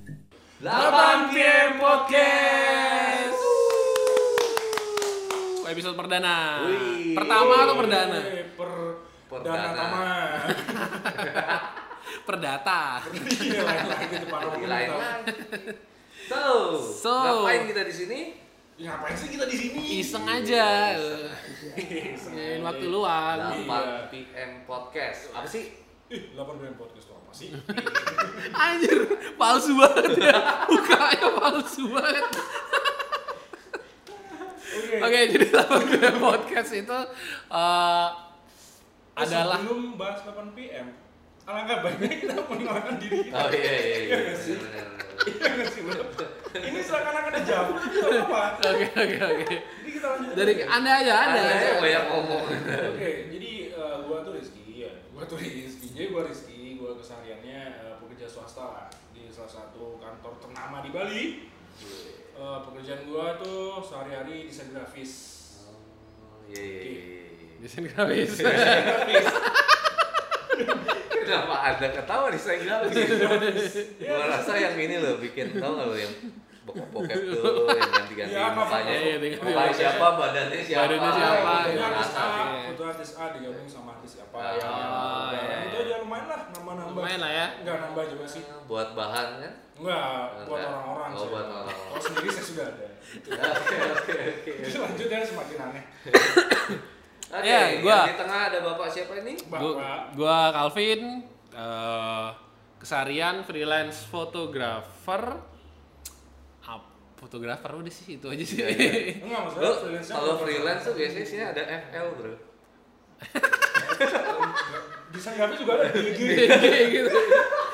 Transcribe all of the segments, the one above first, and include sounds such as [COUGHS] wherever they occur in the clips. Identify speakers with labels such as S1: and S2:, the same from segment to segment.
S1: 8 PM Podcast.
S2: Episode perdana.
S1: Wih.
S2: Pertama atau perdana?
S3: Eh, per
S1: Perdana.
S3: perdana pertama
S2: Perdata.
S3: iya lain lagi depan
S1: Jadi
S3: orang
S1: lain
S3: kita.
S1: [LAUGHS] lagi. ya. So,
S2: So.
S1: ngapain kita di sini?
S3: Ya, ngapain sih kita di sini
S2: Iseng aja. Nyanyiin waktu luang.
S1: 8 PM Podcast. Apa sih?
S3: ih 8 PM podcast itu apa sih
S2: Anjir, palsu banget ya. Bukanya palsu banget.
S3: oke
S2: [LAUGHS] Oke, jadi 8 PM Podcast itu eh,
S3: Eh,
S2: adalah
S3: sebelum bahas 8 PM alangkah baiknya kita mengenalkan diri kita
S1: Oh iya iya iya.
S3: Iya, sih.
S1: bener, bener.
S3: Iya nggak sih, Bro? ini seakan-akan ada jawab tapi nggak apa-apa
S2: Oke, oke, oke.
S3: jadi kita lanjut
S2: Dari
S3: aja.
S2: Anda aja, Anda.
S1: Ada
S2: aja.
S1: yang banyak ngomong.
S3: Oke, jadi eh, gua tuh Rizky, ya. Gua tuh Rizky, jadi gua Rizky, gua kesehariannya eh, pekerja swasta lah di salah satu kantor ternama di Bali. Eh, pekerjaan gua tuh sehari-hari desain grafis.
S1: Oh, Iya iya iya.
S2: Desain grafis.
S3: Grafis.
S1: Kenapa Anda ketawa di saya grafis? [LAUGHS] Gua
S3: Ya,
S1: rasa yang ini loh bikin tau gak lo yang bokep-bokep tuh yang ganti-ganti
S3: Iya, apa-apa.
S1: mukanya.
S2: Iya, ganti-ganti
S1: Mukanya
S2: mukanya.
S1: siapa, badannya siapa.
S2: Badannya siapa,
S1: gitu.
S3: Ini artis A,
S2: Iya.
S3: foto artis A digabung sama artis siapa ya.
S1: Oh,
S2: iya, iya.
S3: Itu aja lumayan lah, nambah-nambah.
S2: Lumayan lah ya.
S3: Enggak nambah juga sih.
S1: Buat bahan kan?
S3: Enggak, buat
S1: Enggak.
S3: orang-orang
S1: Oh,
S3: sih.
S1: buat orang-orang. Gitu ya.
S3: Kalau sendiri saya sudah ada.
S1: Oke oke oke.
S3: Jadi lanjut ya semakin aneh.
S1: Oke,
S2: Ya, gua-
S1: yang di tengah ada bapak siapa ini?
S3: Bapak
S2: Gue Calvin, eh, keseharian freelance fotografer. Ap, fotografer udah sih itu aja sih.
S3: Enggak masalah
S1: Lo
S3: freelance-nya
S1: kalau
S3: bukan-
S1: freelance tuh biasanya sih ada FL bro.
S3: desain grafis juga ada di IG
S2: [LAUGHS]
S1: Iya.
S2: Kayak gitu.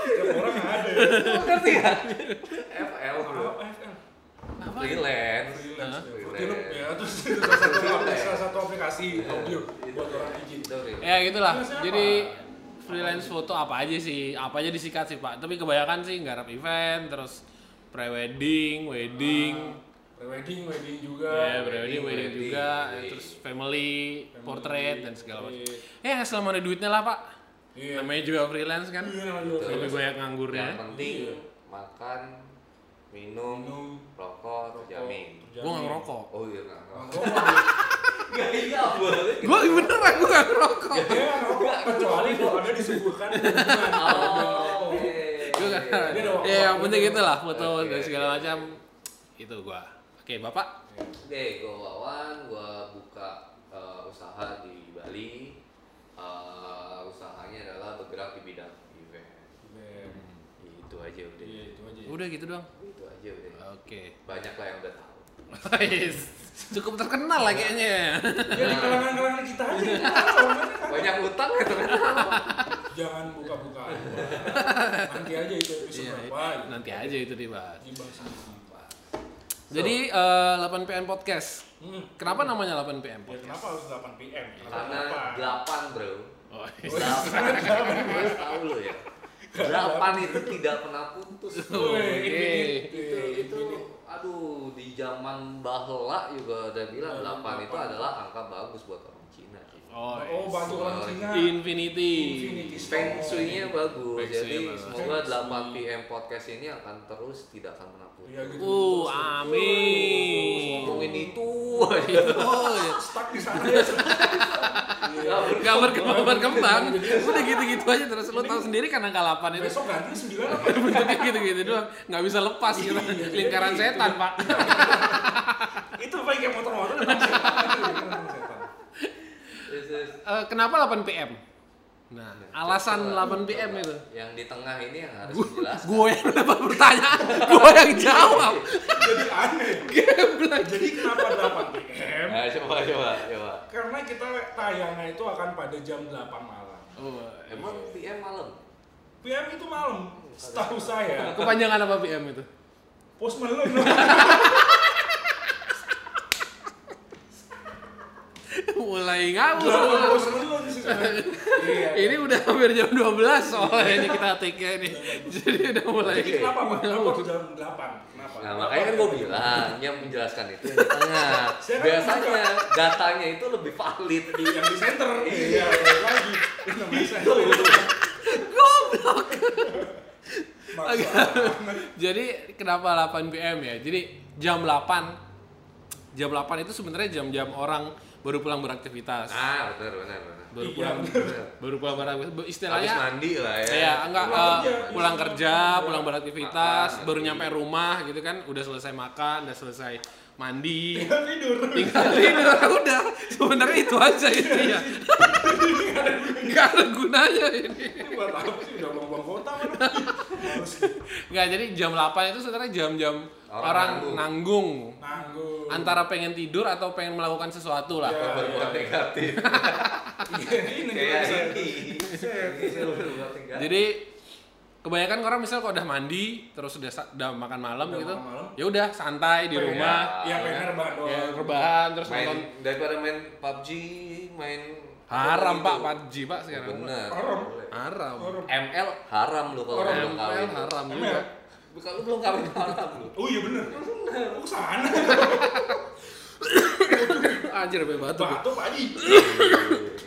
S3: tiap orang ada
S1: Lo ngerti ya? FL bro.
S3: Apa AFL?
S2: Apa?
S1: Freelance.
S3: freelance
S1: Hah?
S3: ya. film ya terus itu salah satu aplikasi- salah satu aplikasi
S1: Iya.
S3: audio buat orang izin
S1: Itu freelance.
S2: Ya gitulah.
S3: Freelance apa?
S2: Jadi freelance foto apa aja sih? Apa aja disikat sih pak? Tapi kebanyakan sih nggarap event, terus pre-wedding, wedding,
S3: wedding Ah. wedding juga
S2: ya pre-wedding,
S1: wedding,
S2: wedding
S1: wedding,
S2: juga,
S1: wedding.
S2: terus family,
S3: Family,
S2: portrait dan segala macam.
S3: portrait.
S2: Ya selama ada duitnya lah pak.
S3: iya
S2: Namanya juga freelance kan.
S3: Iya, namanya juga
S2: Lebih
S3: freelance.
S2: banyak nganggurnya.
S1: Yang penting
S3: Iya.
S1: makan, minum,
S3: Minum,
S1: rokok,
S3: Rokok,
S1: terjamin.
S3: terjamin.
S2: Gue gak ngerokok.
S1: Oh iya nggak
S3: Ngerokok.
S1: Gak iya boleh.
S2: Gue [LAUGHS] beneran gue gak ngerokok.
S3: Dia nggak Iya, ngerokok kecuali kalau ada disuguhkan hubungan.
S1: Oh.
S3: Dia ngerokok.
S2: Gue gak.
S3: Dia ada waktu-
S2: Ya yang penting gitu lah foto
S1: iya, Oke,
S2: dan segala
S1: oke.
S2: macam. Itu gue. Oke bapak.
S1: Deh, gue Wawan, gue buka eh, usaha di Bali. Eh, usahanya adalah bergerak di bidang event. Itu aja udah.
S3: Iya, itu aja.
S2: Udah gitu doang.
S1: Itu aja udah.
S2: Oke.
S1: Banyak lah yang udah tahu.
S2: Wais, Cukup terkenal lah kayaknya.
S3: Ya di kalangan-kalangan kita aja.
S1: Iya.
S3: kita tahu.
S1: Banyak utang ya ternyata.
S2: Iya.
S3: jangan buka-bukaan nanti aja itu episode
S2: Iya,
S3: berapa gitu.
S2: Nanti aja itu dibahas.
S3: dibahas apa
S2: Jadi eh, 8 PM podcast.
S3: hmm.
S2: Kenapa namanya 8 PM
S3: ya
S2: podcast?
S3: kenapa harus 8 pm
S1: Karena
S3: apa
S1: delapan bro.
S2: Oh, iya.
S1: Delapan. Harus tahu lo ya. Delapan itu tidak pernah putus. bro.
S3: Woi,
S2: Oke.
S3: ini-
S1: itu itu
S3: ini-
S1: aduh di zaman bahla juga ada bilang
S3: Iya,
S1: 8 itu
S3: delapan.
S1: adalah angka bagus buat orang Cina
S2: Oh,
S3: oh bantu orang Cina
S2: Infinity.
S3: Infinity.
S1: Feng Shui-nya bagus,
S2: Feng
S1: jadi
S2: Shui-nya bagus.
S1: semoga
S3: Feng
S1: 8 PM podcast ini akan terus tidak akan pernah putus.
S3: Iya, gitu.
S2: Uh, amin.
S1: Terus Ngomongin itu aja.
S2: [LAUGHS] Oh, iya.
S3: stuck di sana ya stuck di sana. Iya.
S2: Gak berkembang kembang. Udah gitu-gitu aja terus lo tau sendiri kan angka 8 itu.
S3: besok ganti 9 apa
S2: Bentuknya gitu-gitu doang. Gak bisa lepas gitu.
S3: Iya,
S2: Lingkaran
S3: iya,
S2: setan,
S3: iya.
S2: Pak.
S3: itu baik yang motor-motor datang setan. Datang setan.
S1: This is-
S2: Eh, kenapa 8 PM? Nah,
S3: Iya,
S2: alasan 8 PM itu.
S1: Yang di tengah ini yang harus
S2: Gu-
S1: dijelaskan.
S2: Gue yang dapat pertanyaan, gue yang jawab.
S3: jadi aneh
S2: Geblek.
S3: jadi kenapa 8 pm
S1: Nah, coba coba coba.
S3: karena kita tayangnya itu akan pada jam 8 malam
S2: Oh,
S3: iya.
S1: Emang PM malam.
S3: PM itu malam setahu saya
S2: Kepanjangan apa PM itu?
S3: Post Malone
S1: [LAUGHS]
S2: Mulai ngawur.
S3: Post Malone sih Iya.
S2: Ini udah hampir jam 12 soalnya ini kita take
S3: [LAUGHS]
S2: nih. Jadi udah mulai.
S3: Jadi kenapa Pak? Kenapa harus jam 8? Kenapa?
S1: Nah, makanya kan gue bilang yang menjelaskan itu yang di tengah. [LAUGHS]
S3: Saya kan
S1: Biasanya datanya itu lebih valid.
S3: Di- yang di center. Iya, lagi. Itu namanya center. Maksa banget.
S2: Jadi kenapa 8 PM ya? Jadi jam 8 jam 8 itu sebenarnya jam-jam orang baru pulang beraktivitas.
S1: Ah, benar benar benar.
S2: Baru
S3: Iya,
S2: pulang
S1: Benar.
S2: baru pulang beraktivitas.
S1: Habis
S2: Istilahnya
S1: mandi lah ya.
S2: Iya, enggak
S3: Pulang
S2: eh,
S3: kerja.
S2: pulang kerja, pulang beraktivitas,
S1: Makan.
S2: baru nyampe rumah gitu kan, udah selesai makan, udah selesai mandi,
S3: Tinggal Iya, tidur.
S2: tinggal tidur udah. Sebenarnya itu aja intinya. Enggak ada gunanya ini.
S3: Ini buat apa sih? Udah buang-buang kota
S1: [LAUGHS]
S3: kan. Harus
S2: Enggak, jadi jam 8 itu sebenarnya jam-jam
S1: Orang
S2: orang
S1: nanggung.
S2: nanggung.
S3: nanggung.
S2: Antara pengen tidur atau pengen melakukan sesuatu lah.
S3: Iya.
S1: Berbuat
S2: [LAUGHS]
S1: negatif.
S3: Iya, ini
S1: Kayak
S3: saya-
S1: ini.
S3: saya- saya-
S1: Berbuat negatif.
S2: Jadi kebanyakan orang misal kalau udah mandi, terus udah sa- udah makan malam
S3: Udah
S2: gitu.
S3: makan malam.
S2: Ya udah santai di
S3: Iya.
S2: rumah.
S3: Ya pengen rebahan doang.
S2: Ya rebahan terus
S1: main
S2: nonton
S1: daripada main PUBG, main
S2: haram
S1: gitu.
S2: Pak PUBG Pak sekarang.
S1: Bener.
S3: Haram.
S2: Haram.
S3: Haram.
S1: ML haram lu kalau
S3: Haram.
S1: belum kawin.
S2: ML haram
S3: ML.
S2: juga.
S1: Kalau belum kawin haram lu.
S3: Oh iya bener. Kok kesana?
S2: [COUGHS] Anjir sampai batuk.
S3: Batuk Pak Haji.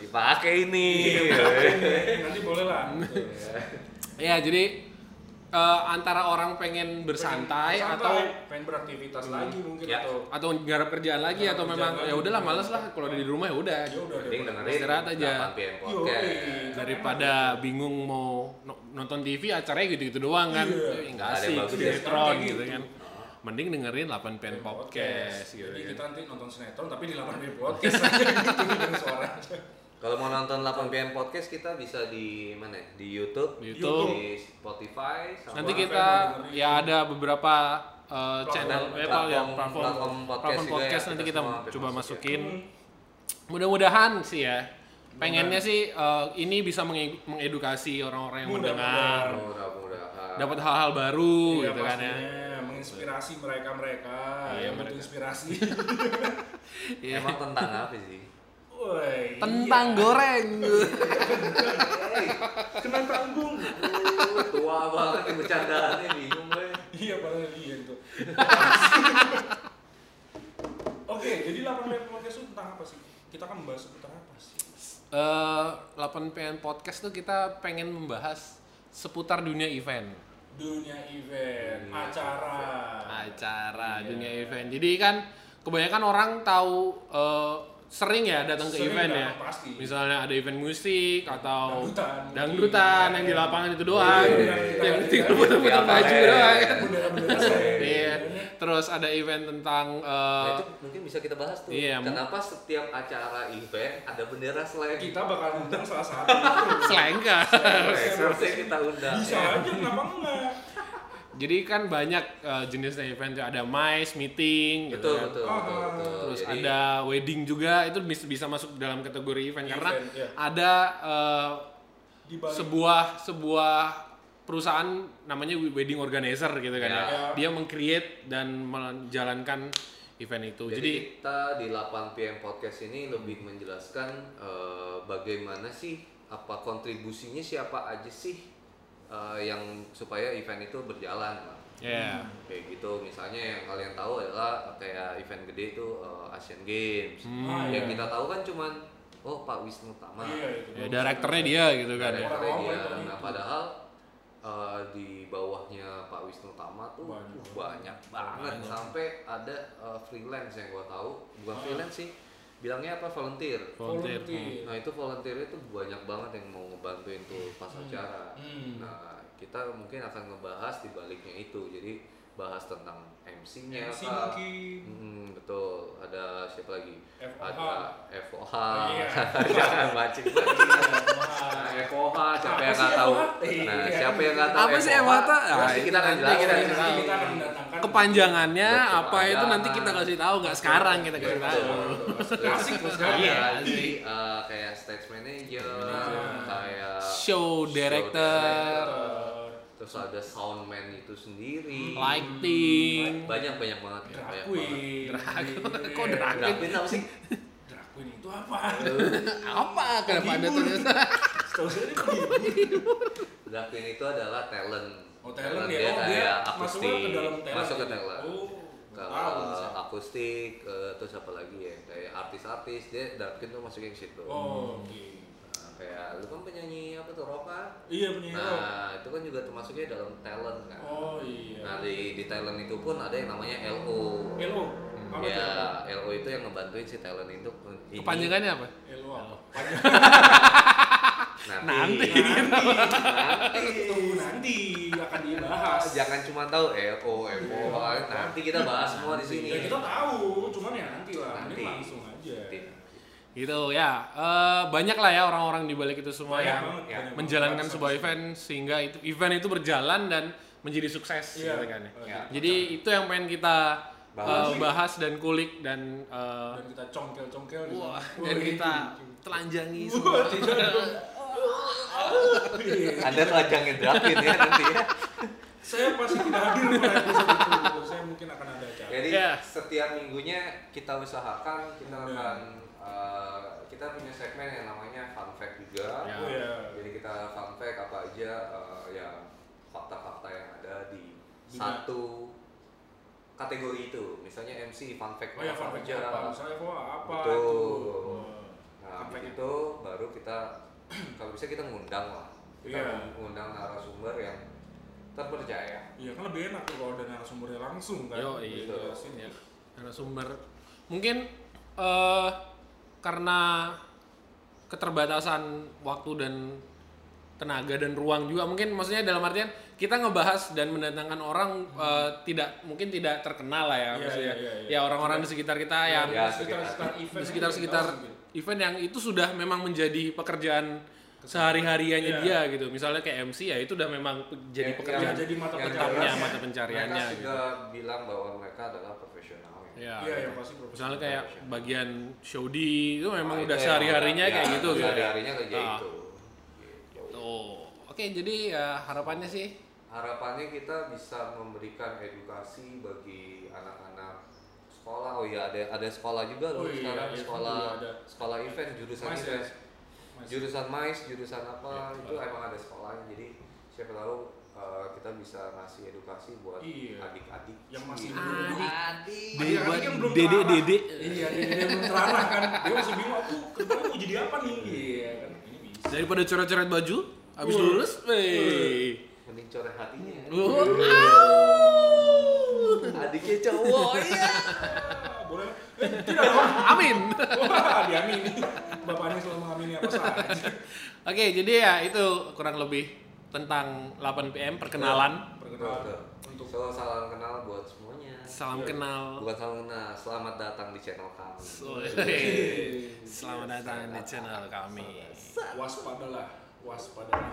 S1: Dipakai ini.
S3: Nanti boleh lah.
S2: Ya jadi eh, antara orang pengen bersantai atau
S3: pengen beraktivitas lagi mungkin
S1: Ya.
S3: atau
S2: atau ngarap kerjaan lagi
S3: Ngarep
S2: atau
S3: kerjaan
S2: memang
S3: lagi.
S2: ya udahlah males lah kalau ada di rumah ya udah
S3: ya udah
S1: Mending
S3: deh.
S1: dengerin
S2: Istirahat aja.
S1: 8 PM podcast.
S3: Yoi.
S2: daripada bingung mau no- nonton TV acaranya gitu-gitu doang kan
S3: Iya.
S2: Eh, nggak
S1: Ada
S2: asik
S1: yang bagus ya.
S2: sinetron
S3: Kayak
S2: gitu
S3: gitu.
S2: kan mending dengerin 8 pen podcast gitu
S3: Iya, Jadi kita
S2: kan
S3: nanti nonton sinetron tapi di lapangan di [LAUGHS] podcast aja gitu dengerin suara aja.
S1: Kalau mau nonton 8 PM podcast kita bisa di mana? ya? Di YouTube,
S2: Di YouTube.
S1: di Spotify, sama
S2: nanti
S3: Apa
S2: kita
S3: yang dengerin?
S2: ya ada beberapa eh, channel
S1: Platform-
S2: eh, apa ya,
S1: platform-
S2: platform
S1: platform podcast
S2: platform
S1: juga ya,
S2: podcast
S1: kita ya. Hmm.
S2: nanti kita
S1: semua hampir
S2: coba
S1: masukin.
S2: masukin mudah-mudahan sih ya pengennya
S3: Mudah-mudahan.
S2: sih eh, ini bisa menge- mengedukasi orang-orang yang
S3: Mudah-mudahan.
S2: mendengar
S1: mudah-mudahan.
S2: dapat hal-hal baru
S3: Iya,
S2: gitu kan ya
S3: pastinya. menginspirasi mereka-mereka
S2: Iya,
S3: yang butuh
S2: mereka.
S3: inspirasi.
S2: Iya.
S1: Emang tentang apa sih?
S3: [LAUGHS] Woi.
S2: tentang
S1: Iya.
S2: goreng [LAUGHS]
S1: Hey,
S3: iya. kena tanggung.
S1: lu tua banget yang bercandaannya bingung gue.
S2: Eh.
S3: Iya padahal dia
S2: [LAUGHS]
S3: itu. Oke, jadi lapangan di podcast itu tentang apa sih? Kita akan membahas tentang apa sih?
S2: Eh, 8PN Podcast tuh kita pengen membahas seputar dunia event
S3: Dunia
S2: Iya.
S3: event,
S1: Dunia
S3: acara.
S2: acara
S3: Iya.
S2: dunia event jadi kan kebanyakan orang tahu eh, sering ya datang ke
S3: Sering
S2: event
S1: kan,
S3: datang,
S2: ya
S3: pasti.
S2: misalnya ada event musik atau
S3: Dangdutan.
S2: dangdutan yang di lapangan itu doang
S1: Iya.
S2: yang penting
S3: Iya.
S2: rebut-rebutan
S1: Iya.
S2: baju doang kan. [LAUGHS]
S3: Bendera-bendera
S2: iya
S3: saya.
S2: terus ada event tentang eh,
S1: Nah, itu mungkin bisa kita bahas tuh.
S2: Iya, mu-
S1: Kenapa setiap acara event ada bendera slang?
S2: Iya.
S3: Kita bakal undang salah
S2: [LAUGHS]
S3: satu.
S2: eh, selengkah
S1: Seharusnya kita undang.
S3: Bisa
S1: ya.
S3: aja kenapa enggak?
S2: Jadi kan banyak eh, jenisnya event tuh. ada MICE, meeting gitu
S1: Betul,
S2: kan.
S1: betul, betul, betul.
S2: Terus
S1: Jadi,
S2: ada wedding juga itu bis- bisa masuk dalam kategori event, karena
S3: Event, iya.
S2: ada eh,
S3: Di balik
S2: sebuah sebuah perusahaan namanya wedding organizer gitu kan
S1: Iya.
S2: ya. Dia meng-create dan menjalankan event itu. Oh,
S1: Jadi,
S2: Jadi,
S1: kita di 8 PM podcast ini lebih menjelaskan eh, bagaimana sih apa kontribusinya siapa aja sih eh, yang supaya event itu berjalan Pak.
S2: ya.
S1: kayak gitu misalnya yang kalian tahu adalah kayak event gede itu eh, Asian Games
S3: Ah,
S1: yang
S3: iya.
S1: kita tahu kan cuman oh Pak Wisnu Tama
S3: Iya, itu.
S2: ya direkturnya dia gitu kan ya.
S1: Direkturnya
S3: Orang-orang
S1: dia.
S3: itu, itu.
S1: nah padahal eh, di bawahnya Pak Wisnu Tama tuh
S3: Banyak.
S1: banyak, banget
S2: Banyak.
S1: sampai ada eh, freelance yang gua tahu bukan freelance sih bilangnya apa volunteer
S2: Volunteer.
S3: Oh, iya. Volunteer.
S1: nah itu volunteernya tuh banyak banget yang mau ngebantuin tuh pas acara
S3: Hmm.
S1: nah kita mungkin akan ngebahas di baliknya itu jadi bahas tentang MC-nya
S3: MC
S1: Kak.
S3: mungkin.
S1: Mm, betul ada siapa lagi
S3: FOH.
S1: ada FOH
S3: Iya.
S1: [LAUGHS] jangan mancing
S2: Iya,
S1: mancing FOH siapa yang nggak tahu
S3: Iya.
S1: nah siapa yang nggak tahu
S2: Apa sih
S1: FOH?
S2: FOH? Ah,
S1: Nanti
S2: itu
S1: kita akan
S2: nanti
S1: jelasin Iya,
S2: kita
S3: Nanti
S2: tahu.
S3: Iya, kita akan mendatangkan
S2: Kepanjangannya
S1: Betul,
S2: apa itu nanti kita
S1: kepanjangan.
S2: kasih tahu nggak sekarang kita
S1: Betul,
S2: kasih tahu.
S1: betul.
S3: Asik tuh
S1: Ada
S3: sekarang.
S1: lagi eh, kayak stage manager kayak
S2: Show director,
S3: Eh,
S1: terus ada soundman itu sendiri
S2: lighting,
S1: banyak banyak banget
S3: Drag
S1: banyak banget
S3: Queen.
S2: Drag- kok drag?
S1: Drag queen apa sih
S3: Drag Queen itu apa? apa?
S2: [LAUGHS] Apa? Kenapa anda
S3: Penghibur.
S2: terus?
S3: Setahu saya dia penghibur.
S1: Drag Queen itu adalah talent.
S3: Oh talent ya,
S1: dia
S3: oh dia
S1: kayak
S3: masuknya
S1: akustik,
S3: ke dalam talent.
S1: masuk ke
S3: jadi.
S1: talent.
S3: Oh,
S1: ke
S3: tahu saya.
S1: akustik, ke terus apa lagi ya? Kayak artis-artis dia Drag Queen tuh masuknya ke situ.
S3: Oh, oke.
S1: Nah, kayak lu kan penyanyi apa tuh Roka?
S3: Iya punya hero.
S1: Nah, itu kan juga termasuknya dalam talent kan.
S3: Oh iya.
S1: Nah, di, di talent itu pun ada yang namanya LO.
S3: Elo.
S2: Hmm,
S3: Apa
S2: iya.
S1: ya,
S3: tuh?
S1: LO itu yang ngebantuin si talent itu ini.
S2: Kepanjangannya apa?
S3: Elo apa? Panjang.
S1: nanti.
S2: [LAUGHS] Nanti.
S3: Nanti, tunggu nanti akan dibahas.
S1: Jangan cuma tahu LO, MO, nanti kita bahas semua di sini.
S3: Ya kita tahu, cuman ya nanti lah.
S1: Nanti.
S3: Ini langsung aja.
S2: Gitu ya. Eh, banyak lah ya orang-orang di balik itu semua
S3: Banyak
S2: yang
S3: banget,
S1: ya,
S3: banyak
S2: menjalankan
S3: banget.
S2: sebuah event sehingga itu event itu berjalan dan menjadi sukses
S3: Iya.
S2: gitu kan ya.
S3: Oh,
S1: Ya.
S2: Jadi itu yang pengen kita
S1: Bahas.
S2: eh, bahas dan kulik dan eh,
S3: dan kita congkel-congkel di
S2: wah
S3: sana.
S2: dan
S3: Wih.
S2: kita telanjangi
S3: Wah,
S2: semua.
S3: tidak dong. Iya.
S1: Anda telanjangin drakin ya nanti ya.
S3: Saya pasti tidak hadir pada episode itu. Saya mungkin akan ada acara.
S1: Jadi
S2: Ya.
S1: setiap minggunya kita usahakan kita
S3: Hmm.
S1: akan eh, kita punya segmen yang namanya fun fact juga.
S2: Ya.
S3: Oh, iya.
S1: Jadi kita fun fact apa aja eh, yang fakta-fakta yang ada di
S3: Bidang.
S1: satu kategori itu. Misalnya MC fun fact
S3: Oh ya,
S1: apa
S3: Fabio
S1: aja.
S3: apa? Saya kok apa?
S1: Betul.
S3: itu? Fun
S1: Nah,
S3: fact.
S1: habis itu baru kita [CLEARS THROAT] kalau bisa kita ngundang lah. Kita
S3: Iya.
S1: ngundang narasumber yang terpercaya.
S3: Iya kan lebih enak tuh kalau ada narasumbernya langsung kan.
S2: Yo, iya.
S3: Boleh jelasin.
S2: Ya, narasumber. Mungkin eh karena keterbatasan waktu dan tenaga dan ruang juga mungkin maksudnya dalam artian kita ngebahas dan mendatangkan orang eh, tidak mungkin tidak terkenal lah ya
S3: Iya,
S2: maksudnya.
S3: iya, iya, iya.
S2: ya orang-orang di sekitar kita yang
S1: Ya,
S3: sekitar-sekitar event.
S2: di
S3: gitu.
S1: gitu.
S2: sekitar-sekitar event yang itu sudah memang menjadi pekerjaan sehari-hariannya
S3: Iya.
S2: dia gitu. Misalnya kayak MC ya itu udah memang pe- jadi
S1: Yang-
S2: pekerjaan.
S3: ya, jadi mata
S1: yang
S3: pencariannya,
S1: jelas,
S2: Iya, mata pencariannya
S1: mereka
S2: gitu.
S1: sudah bilang bahwa mereka adalah profesional ya.
S2: Ya.
S3: Iya, yang pasti profesional.
S2: misalnya kayak bagian Shodi itu memang
S3: Ah,
S1: Nah,
S2: udah
S1: itu
S2: sehari harinya
S3: Iya,
S2: kayak
S1: yang- ya,
S2: gitu gitu
S1: sehari harinya kayak
S2: Ah.
S1: gitu Gitu.
S2: tuh oke jadi ya harapannya sih
S1: harapannya kita bisa memberikan edukasi bagi anak-anak sekolah oh iya ada ada sekolah juga loh
S3: Oh iya,
S1: sekarang
S3: iya,
S1: sekolah
S3: iya, ada.
S1: sekolah event jurusan
S3: Mas,
S1: event
S3: ya? Mas.
S1: jurusan mais jurusan apa
S3: Iya.
S1: itu emang ada sekolahnya jadi siapa tahu eh, kita bisa ngasih edukasi buat
S3: Iya.
S1: adik-adik
S3: Yang masih
S1: Gitu.
S3: belum-
S1: adik
S3: Iya,
S2: buat
S3: ini kan belum
S2: dede
S3: terarah.
S2: dede
S3: Iya, dede dede belum terarah kan. Dia masih bingung aku kedepannya mau jadi apa nih? Iya kan. Ini bisa.
S2: daripada coret-coret baju habis
S3: Wah.
S2: lulus wey.
S1: mending coret hatinya
S3: [LAUGHS]
S2: Wuh,
S1: adiknya cowok iya
S3: Ah, Boleh. Eh, tidak dong.
S2: au. amin
S3: Wah, diamini. Bapaknya selalu mengamini apa saja.
S2: oke jadi ya itu kurang lebih tentang 8 pm
S3: Iya.
S2: perkenalan
S3: Perkenalan untuk
S1: untuk so, salam kenal buat semuanya
S3: Iya.
S2: salam kenal
S1: bukan salam kenal selamat datang di channel kami
S3: Iya.
S2: Wey. selamat datang di channel kami
S3: waspadalah, waspadalah.